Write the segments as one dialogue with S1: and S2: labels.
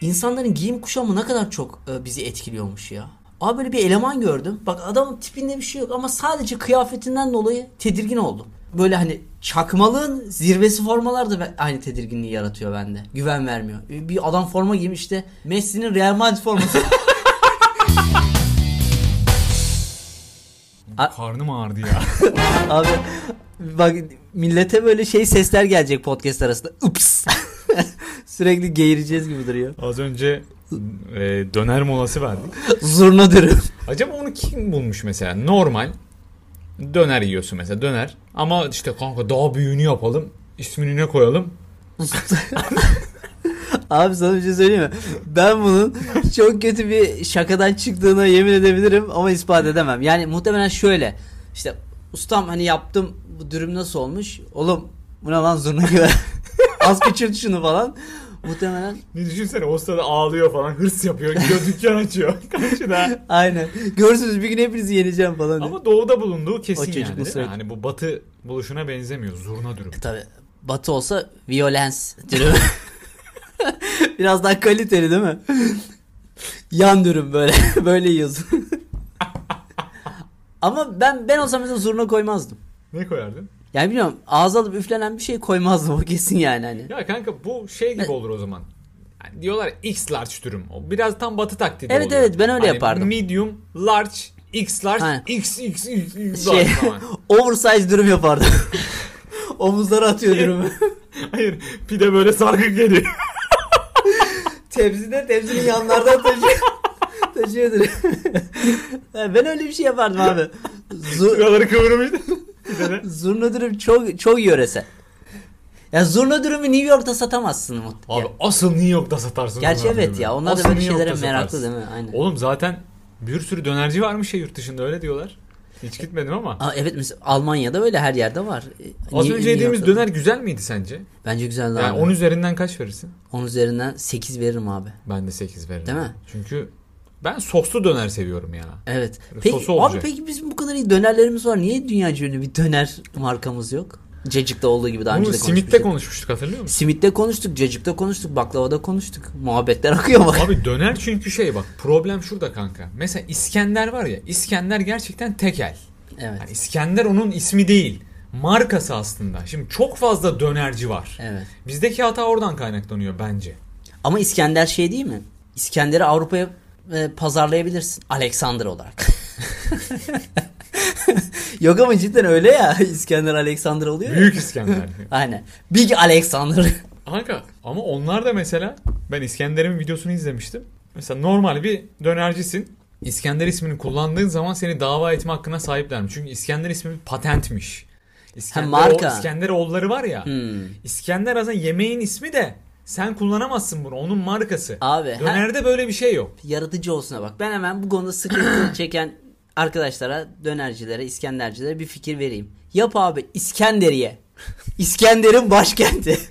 S1: İnsanların giyim kuşamı ne kadar çok e, bizi etkiliyormuş ya. Abi böyle bir eleman gördüm. Bak adamın tipinde bir şey yok ama sadece kıyafetinden dolayı tedirgin oldum. Böyle hani çakmalığın zirvesi formalar da ben- aynı tedirginliği yaratıyor bende. Güven vermiyor. E, Bir adam forma giymiş işte Messi'nin Real Madrid forması. A-
S2: Karnım ağrıdı ya.
S1: Abi bak millete böyle şey sesler gelecek podcast arasında. Ups. Sürekli geğireceğiz gibi duruyor.
S2: Az önce e, döner molası verdik.
S1: Zurna dürüm.
S2: Acaba onu kim bulmuş mesela? Normal döner yiyorsun mesela döner. Ama işte kanka daha büyüğünü yapalım. İsmini ne koyalım?
S1: Abi sana bir şey söyleyeyim mi? Ben bunun çok kötü bir şakadan çıktığına yemin edebilirim ama ispat edemem. Yani muhtemelen şöyle. işte ustam hani yaptım bu dürüm nasıl olmuş? Oğlum buna lan zurna gibi. Az kaçırt şunu falan. Muhtemelen
S2: Ne düşünsene o sırada ağlıyor falan hırs yapıyor. Gidiyor dükkan açıyor karşıda.
S1: aynen. Görürsünüz bir gün hepinizi yeneceğim falan. diye.
S2: Ama doğuda bulunduğu kesin
S1: O çocuk
S2: yani. değil
S1: Mısır'a
S2: mi? Hani bu batı buluşuna benzemiyor. Zurna dürüm.
S1: Tabii. Batı olsa violence dürüm. Biraz daha kaliteli değil mi? Yan dürüm böyle. böyle yiyorsun. Ama ben ben olsam mesela zurna koymazdım.
S2: Ne koyardın?
S1: Yani bilmiyorum ağza alıp üflenen bir şey koymazdım o kesin yani hani.
S2: Ya kanka bu şey gibi olur o zaman. Yani diyorlar X large dürüm. O biraz tam batı taklidi
S1: Evet,
S2: oluyor.
S1: evet, ben öyle
S2: Hani
S1: yapardım.
S2: Medium, large, X large,
S1: Aynen.
S2: X X X X
S1: Şey,
S2: large falan.
S1: oversize dürüm yapardım. Omuzlara atıyor dürümü.
S2: Hayır pide böyle sargın geliyor.
S1: Tepside tepsinin yanlardan taşıyor. taşıyor dürüm. Yani ben öyle bir şey yapardım abi. Zu-
S2: Şuraları kıvırmış. Pide de.
S1: Zurna dürüm çok çok yöresel. Ya zurna dürümü New York'ta satamazsın Umut.
S2: Abi
S1: Ya-
S2: asıl New York'da satarsın.
S1: Gerçi
S2: bunlar
S1: evet
S2: dürümü.
S1: ya onlar da
S2: Asıl
S1: böyle
S2: New York'ta
S1: şeylere meraklı
S2: satarsın.
S1: değil mi? Aynen.
S2: Oğlum zaten bir sürü dönerci varmış ya yurt dışında öyle diyorlar. Hiç gitmedim ama.
S1: Aa, evet mesela Almanya'da öyle her yerde var. E,
S2: Az
S1: New-
S2: önce
S1: New
S2: yediğimiz
S1: York'ta-
S2: döner güzel miydi sence?
S1: Bence güzel
S2: Yani
S1: abi.
S2: 10 üzerinden kaç verirsin?
S1: 10 üzerinden 8 veririm abi.
S2: Ben de 8 veririm.
S1: Değil mi?
S2: Çünkü ben soslu döner seviyorum ya.
S1: Evet.
S2: Böyle
S1: Peki,
S2: sosu
S1: abi
S2: olacak.
S1: peki bizim bu kadar iyi dönerlerimiz var. Niye dünya ünlü bir döner markamız yok? Cacık'ta olduğu gibi daha
S2: Bunu
S1: önce de
S2: simitte
S1: konuşmuştuk.
S2: konuşmuştuk hatırlıyor musun?
S1: Simit'te konuştuk, Cacık'ta konuştuk, baklavada konuştuk. Muhabbetler akıyor bak.
S2: Abi döner çünkü şey bak problem şurada kanka. Mesela İskender var ya İskender gerçekten tekel.
S1: Evet.
S2: Yani İskender onun ismi değil. Markası aslında. Şimdi çok fazla dönerci var.
S1: Evet.
S2: Bizdeki hata oradan kaynaklanıyor bence.
S1: Ama İskender şey değil mi? İskender'i Avrupa'ya e, pazarlayabilirsin. Alexander olarak. Yok ama cidden öyle ya. İskender Alexander oluyor ya.
S2: Büyük İskender.
S1: Aynen. Big Alexander.
S2: Kanka ama onlar da mesela ben İskender'in videosunu izlemiştim. Mesela normal bir dönercisin. İskender ismini kullandığın zaman seni dava etme hakkına sahiplermiş. Çünkü İskender ismi bir patentmiş. İskender,
S1: Ha, marka.
S2: o- İskender oğulları var ya.
S1: Hmm.
S2: İskender aslında yemeğin ismi de sen kullanamazsın bunu. Onun markası.
S1: Abi, ha-
S2: Dönerde böyle bir şey yok.
S1: Yaratıcı olsuna bak. Ben hemen bu konuda sıkıntı çeken arkadaşlara, dönercilere, İskendercilere bir fikir vereyim. Yap abi İskenderiye. İskender'in başkenti.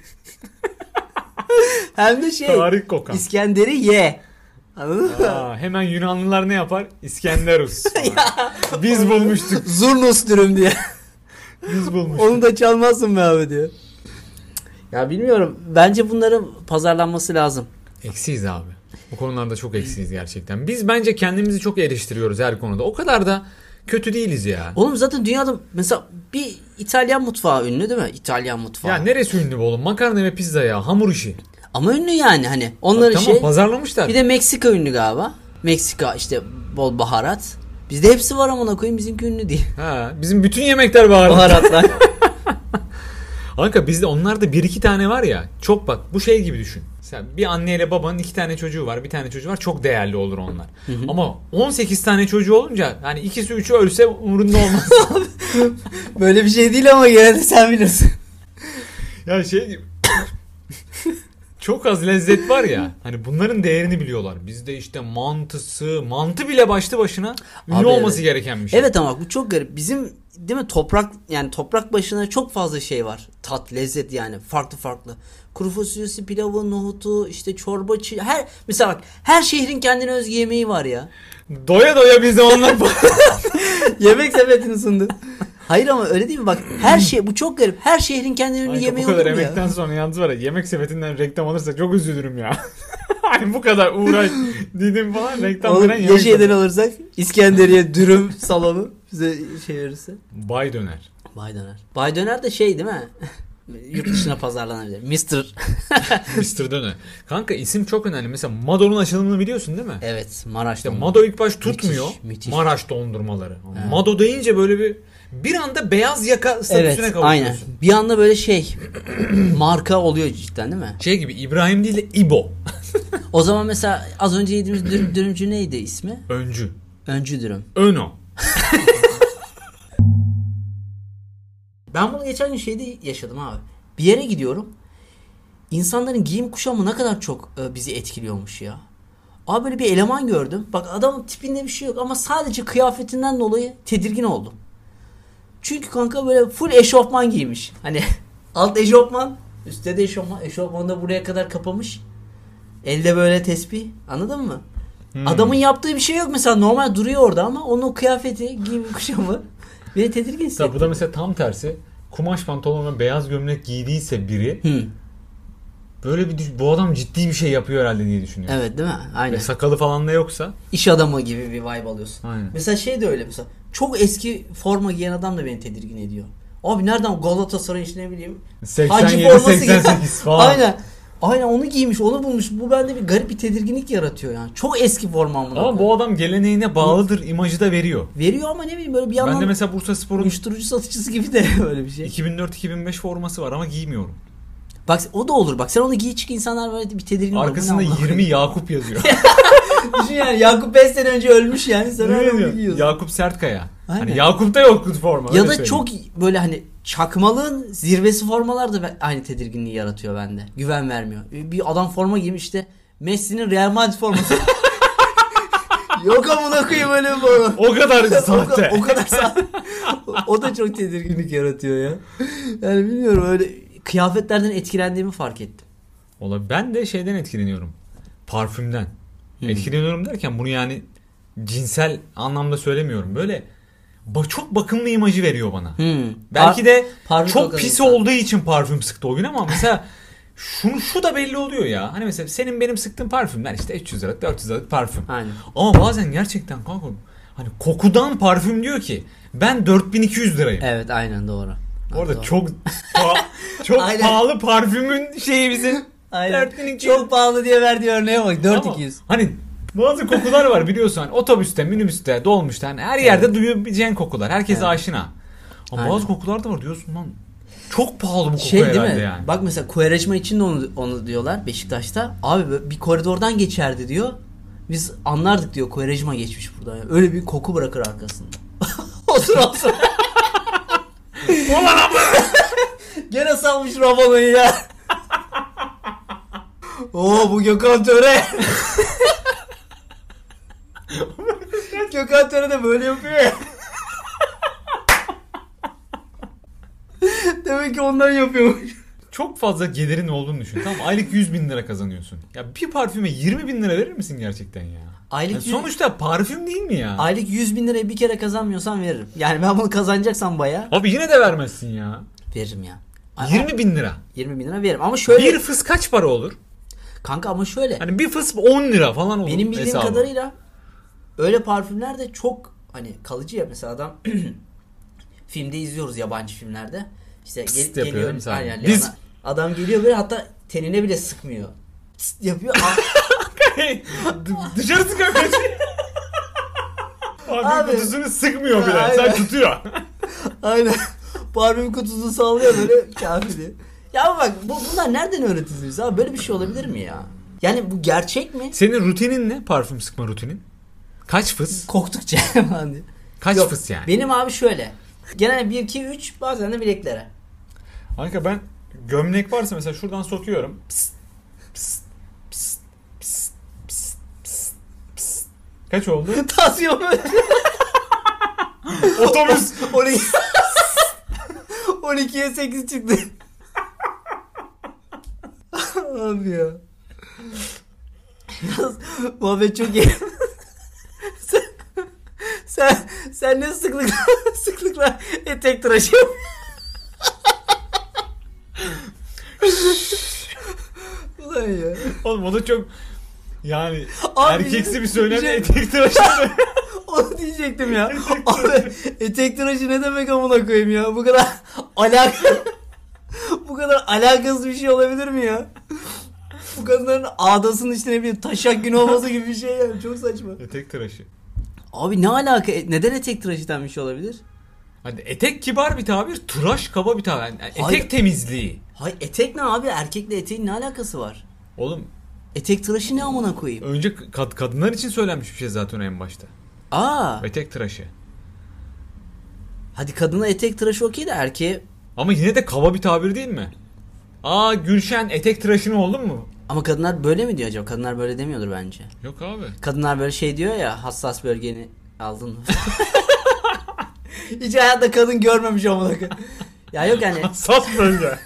S1: Hem de şey.
S2: Tarih kokan.
S1: İskender'i ye. Anladın mı?
S2: Aa, hemen Yunanlılar ne yapar? İskenderus. Biz bulmuştuk.
S1: Zurnos dürüm diye.
S2: Biz bulmuştuk.
S1: Onu da çalmazsın be abi diyor. Ya bilmiyorum. Bence bunların pazarlanması lazım.
S2: Eksiyiz abi. Bu konularda çok eksiyiz gerçekten. Biz bence kendimizi çok eleştiriyoruz her konuda. O kadar da kötü değiliz ya.
S1: Oğlum zaten dünyada mesela bir İtalyan mutfağı ünlü değil mi? İtalyan mutfağı.
S2: Ya neresi ünlü bu oğlum? Makarna ve pizza ya. Hamur işi.
S1: Ama ünlü yani hani. Onların
S2: Tamam
S1: şey.
S2: pazarlamışlar.
S1: Bir de Meksika ünlü galiba. Meksika işte bol baharat. Bizde hepsi var amına koyayım bizimki ünlü değil.
S2: Ha, bizim bütün yemekler baharat.
S1: Baharatlar.
S2: Kanka bizde onlarda bir iki tane var ya. Çok bak bu şey gibi düşün. Sen bir anneyle babanın iki tane çocuğu var. Bir tane çocuğu var. Çok değerli olur onlar. Ama 18 tane çocuğu olunca hani ikisi üçü ölse umurunda olmaz.
S1: Böyle bir şey değil ama gene de sen bilirsin.
S2: Ya şey gibi. Çok az lezzet var ya. Hani bunların değerini biliyorlar. Bizde işte mantısı, mantı bile başlı başına ünlü
S1: Abi
S2: olması
S1: evet.
S2: gereken bir şey.
S1: Evet ama bu çok garip. Bizim değil mi toprak yani toprak başına çok fazla şey var. Tat, lezzet yani farklı farklı. Kuru fasulyesi, pilavı, nohutu, işte çorba, çi- her mesela bak her şehrin kendine özgü yemeği var ya.
S2: Doya doya biz de onlar
S1: Yemek sepetini sundu. Hayır ama öyle değil mi? Bak her şey bu çok garip. Her şehrin kendine özgü
S2: Kanka, bu
S1: yemeği
S2: kadar
S1: olur mu ya?
S2: emekten sonra yalnız var ya yemek sepetinden reklam alırsak çok üzülürüm ya. yani bu kadar uğraş dedim falan reklam
S1: Oğlum
S2: veren yemek.
S1: Yeşil'den alırsak İskenderiye dürüm salonu bize şey verirse.
S2: Bay döner.
S1: Bay Döner. Bay Döner de şey değil mi? Yurt dışına pazarlanabilir. Mr.
S2: Mr. Döner. Kanka isim çok önemli. Mesela Mado'nun açılımını biliyorsun değil mi?
S1: Evet Maraş
S2: İşte
S1: dondurma.
S2: Mado ilk baş tutmuyor.
S1: müthiş.
S2: Maraş dondurmaları. Mado deyince böyle bir bir anda beyaz yaka statüsüne
S1: Evet aynen.
S2: kavuşuyorsun.
S1: Bir anda böyle şey marka oluyor cidden değil mi?
S2: Şey gibi İbrahim değil de İbo.
S1: O zaman mesela az önce yediğimiz dürüm, dürümcü neydi ismi?
S2: Öncü.
S1: Öncü dürüm.
S2: Öno.
S1: Ben bunu geçen gün şeyde yaşadım abi. Bir yere gidiyorum. İnsanların giyim kuşamı ne kadar çok e, bizi etkiliyormuş ya. Abi böyle bir eleman gördüm. Bak adamın tipinde bir şey yok ama sadece kıyafetinden dolayı tedirgin oldum. Çünkü kanka böyle full eşofman giymiş. Hani alt eşofman, üstte de eşofman. Eşofmanı da buraya kadar kapamış. Elde böyle tesbih. Anladın mı?
S2: Hmm.
S1: Adamın yaptığı bir şey yok mesela normal duruyor orada ama onun o kıyafeti, giyim kuşamı beni tedirgin
S2: Tabi bu
S1: hissetti.
S2: da mesela tam tersi. Kumaş pantolon ve beyaz gömlek giydiyse biri
S1: Hı.
S2: böyle bir düş- bu adam ciddi bir şey yapıyor herhalde diye düşünüyor.
S1: Evet değil mi? Aynen.
S2: Ve sakalı falan da yoksa
S1: İş adamı gibi bir vibe alıyorsun.
S2: Aynen.
S1: Mesela şey de öyle mesela. Çok eski forma giyen adam da beni tedirgin ediyor. Abi nereden Galatasaray'ın işte ne bileyim.
S2: 87,
S1: forması
S2: 88 falan.
S1: Aynen. Aynen onu giymiş, onu bulmuş. Bu bende bir garip bir tedirginlik yaratıyor yani. Çok eski formam bunu.
S2: ama bu adam geleneğine bağlıdır imajı da veriyor.
S1: Veriyor ama ne bileyim böyle bir yandan
S2: Ben de mesela Bursa Spor'un
S1: uyuşturucu satıcısı gibi de böyle bir şey.
S2: 2004-2005 forması var ama giymiyorum.
S1: Bak o da olur. Bak sen onu giy çık insanlar böyle bir tedirgin olur. Bu ne
S2: Arkasında
S1: amına
S2: 20 Yakup yazıyor.
S1: koyayım? Düşün yani Yakup 5 sene önce ölmüş yani sen
S2: Yemin
S1: hala onu
S2: ediyorum.
S1: giyiyorsun.
S2: Yakup Sertkaya.
S1: Aynen.
S2: Hani Yakup'ta yok forma.
S1: Ya
S2: öyle
S1: da
S2: söyleyeyim.
S1: çok böyle hani çakmalığın zirvesi formalar da be- aynı tedirginliği yaratıyor bende. Güven vermiyor. Ee, Bir adam forma giymiş işte Messi'nin Real Madrid forması. Yok amına koyayım öyle bir forma.
S2: o kadar
S1: O,
S2: sahte.
S1: ka- o kadar sahte. O- o da çok tedirginlik yaratıyor ya. Yani bilmiyorum öyle kıyafetlerden etkilendiğimi fark ettim.
S2: Ola ben de şeyden etkileniyorum. Parfümden.
S1: Hmm.
S2: Etkileniyorum derken bunu yani cinsel anlamda söylemiyorum. Böyle ba- çok bakımlı imajı veriyor bana.
S1: Hmm.
S2: Belki de
S1: parfüm
S2: çok
S1: kokan
S2: pis
S1: insan.
S2: olduğu için parfüm sıktı o gün ama mesela şunu şu da belli oluyor ya. Hani mesela senin benim sıktığım parfümler işte 300 liralık 400 liralık parfüm.
S1: Aynen.
S2: Ama bazen gerçekten kanka hani kokudan parfüm diyor ki ben 4200 lirayım.
S1: Evet aynen doğru.
S2: Bu arada
S1: Doğru.
S2: çok pa- çok
S1: Aynen.
S2: pahalı parfümün şeyi şey bizim
S1: Aynen.
S2: 4200.
S1: Çok pahalı diye verdiği örneğe bak 4200.
S2: Ama Hani bazı kokular var biliyorsun. Hani otobüste, minibüste, dolmuşta hani her yerde duyabileceğin kokular. Herkese
S1: Evet.
S2: aşina. Ama
S1: Aynen.
S2: bazı kokular da var diyorsun lan. Çok pahalı bu koku
S1: Şey değil
S2: herhalde
S1: mi?
S2: yani.
S1: Bak mesela Kuvareşma için de onu, onu diyorlar Beşiktaş'ta. Abi böyle bir koridordan geçerdi diyor. Biz anlardık diyor Kuvareşma geçmiş buradan. Yani Öyle bir koku bırakır arkasında. otur otur.
S2: Ulan abi!
S1: Gene salmış Rabano'yu ya. Oo bu Gökhan Töre. Gökhan Töre de böyle yapıyor ya. Demek ki ondan yapıyormuş.
S2: Çok fazla gelirin olduğunu düşün. Tamam aylık 100 bin lira kazanıyorsun. Ya bir parfüme 20 bin lira verir misin gerçekten ya?
S1: Aylık
S2: Yani
S1: yüz-
S2: sonuçta parfüm değil mi ya?
S1: Aylık 100 bin lirayı bir kere kazanmıyorsan veririm. Yani ben bunu kazanacaksam baya
S2: Abi yine de vermezsin ya.
S1: veririm ya. Ay-
S2: 20 bin lira.
S1: 20 bin lira veririm ama şöyle
S2: Bir fıs kaç para olur?
S1: kanka ama şöyle
S2: Hani bir fıs 10 lira falan olur.
S1: benim bildiğim
S2: hesabı.
S1: kadarıyla öyle parfümler de çok hani kalıcı ya mesela adam filmde izliyoruz yabancı filmlerde. İşte gel-
S2: Pıst yapıyor değil
S1: geliyor
S2: mi sadece?
S1: aynen
S2: Biz-
S1: yana- adam geliyor böyle hatta tenine bile sıkmıyor. Pıst yapıyor. Aa,
S2: Hey, d- dışarısı köpeci. Abi,
S1: Abi.
S2: kutusunu sıkmıyor bile.
S1: Aynen.
S2: Sen tutuyor.
S1: Aynen. Parfüm kutusunu sallıyor böyle kafiri. Ya ama bak bu, bunlar nereden öğretilmiş abi? Böyle bir şey olabilir mi ya? Yani bu gerçek mi?
S2: Senin rutinin ne? Parfüm sıkma rutinin. Kaç fıs?
S1: Koktukça falan diye.
S2: Kaç
S1: Yok,
S2: fıs yani?
S1: Benim abi şöyle. Genel 1 2 3 bazen de bileklere.
S2: Kanka ben gömlek varsa mesela şuradan sokuyorum. Psst, psst, psst, psst, psst, psst, psst. Kaç oldu?
S1: Tansiyon böyle.
S2: Otobüs.
S1: 12 12'ye 8 çıktı. abi ya. Yalnız Muhabbet çok iyi. sen, sen, sen ne sıklıkla, sıklıkla etek tıraşı yapıyorsun? Ulan ya.
S2: Oğlum o da çok Yani
S1: Abi,
S2: erkeksi bir söylemle
S1: şey-
S2: etek tıraşı.
S1: Onu diyecektim ya. Abi etek tıraşı ne demek amına koyayım ya? Bu kadar alakalı bu kadar alakasız bir şey olabilir mi ya? Bu kadınların ağdasının işte ne bileyim taşak günü olması gibi bir şey yani. Çok saçma.
S2: etek tıraşı.
S1: Abi ne alaka? E, Neden etek tıraşı denmiş olabilir?
S2: Hani etek kibar bir tabir, tıraş kaba bir tabir. Yani etek
S1: Hayır.
S2: temizliği.
S1: Hay etek ne abi? Erkekle eteğin ne alakası var?
S2: Oğlum
S1: Etek tıraşı ne amına koyayım?
S2: önce kad- kadınlar için söylenmiş bir şey zaten en başta.
S1: Aa,
S2: Etek tıraşı.
S1: hadi kadına etek tıraşı okey de erkeğe
S2: Ama yine de kaba bir tabir değil mi? Aa Gülşen etek tıraşını oldun mu?
S1: ama kadınlar böyle mi diyor acaba? Kadınlar böyle demiyordur bence.
S2: Yok abi.
S1: Kadınlar böyle şey diyor ya hassas bölgeni aldın mı? Hiç hayatta kadın görmemiş amına koyayım. Ya yok yani.
S2: Hassas bölge.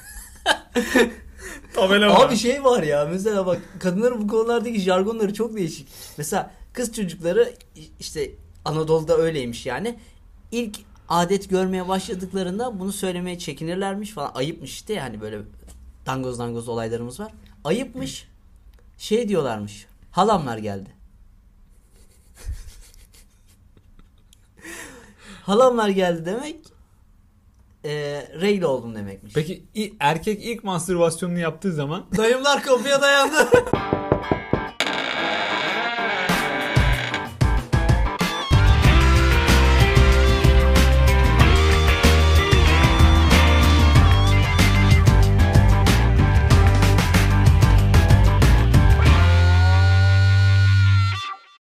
S2: Tabela var.
S1: Abi şey var ya mesela bak kadınların bu konulardaki jargonları çok değişik. Mesela kız çocukları işte Anadolu'da öyleymiş yani. İlk adet görmeye başladıklarında bunu söylemeye çekinirlermiş falan. Ayıpmış işte ya, hani böyle dangoz dangoz olaylarımız var. Ayıpmış. Şey diyorlarmış. Halamlar geldi. halamlar geldi demek eee reyli oldum demekmiş.
S2: Peki i- erkek ilk mastürbasyonunu yaptığı zaman
S1: Dayımlar kapıya dayandı.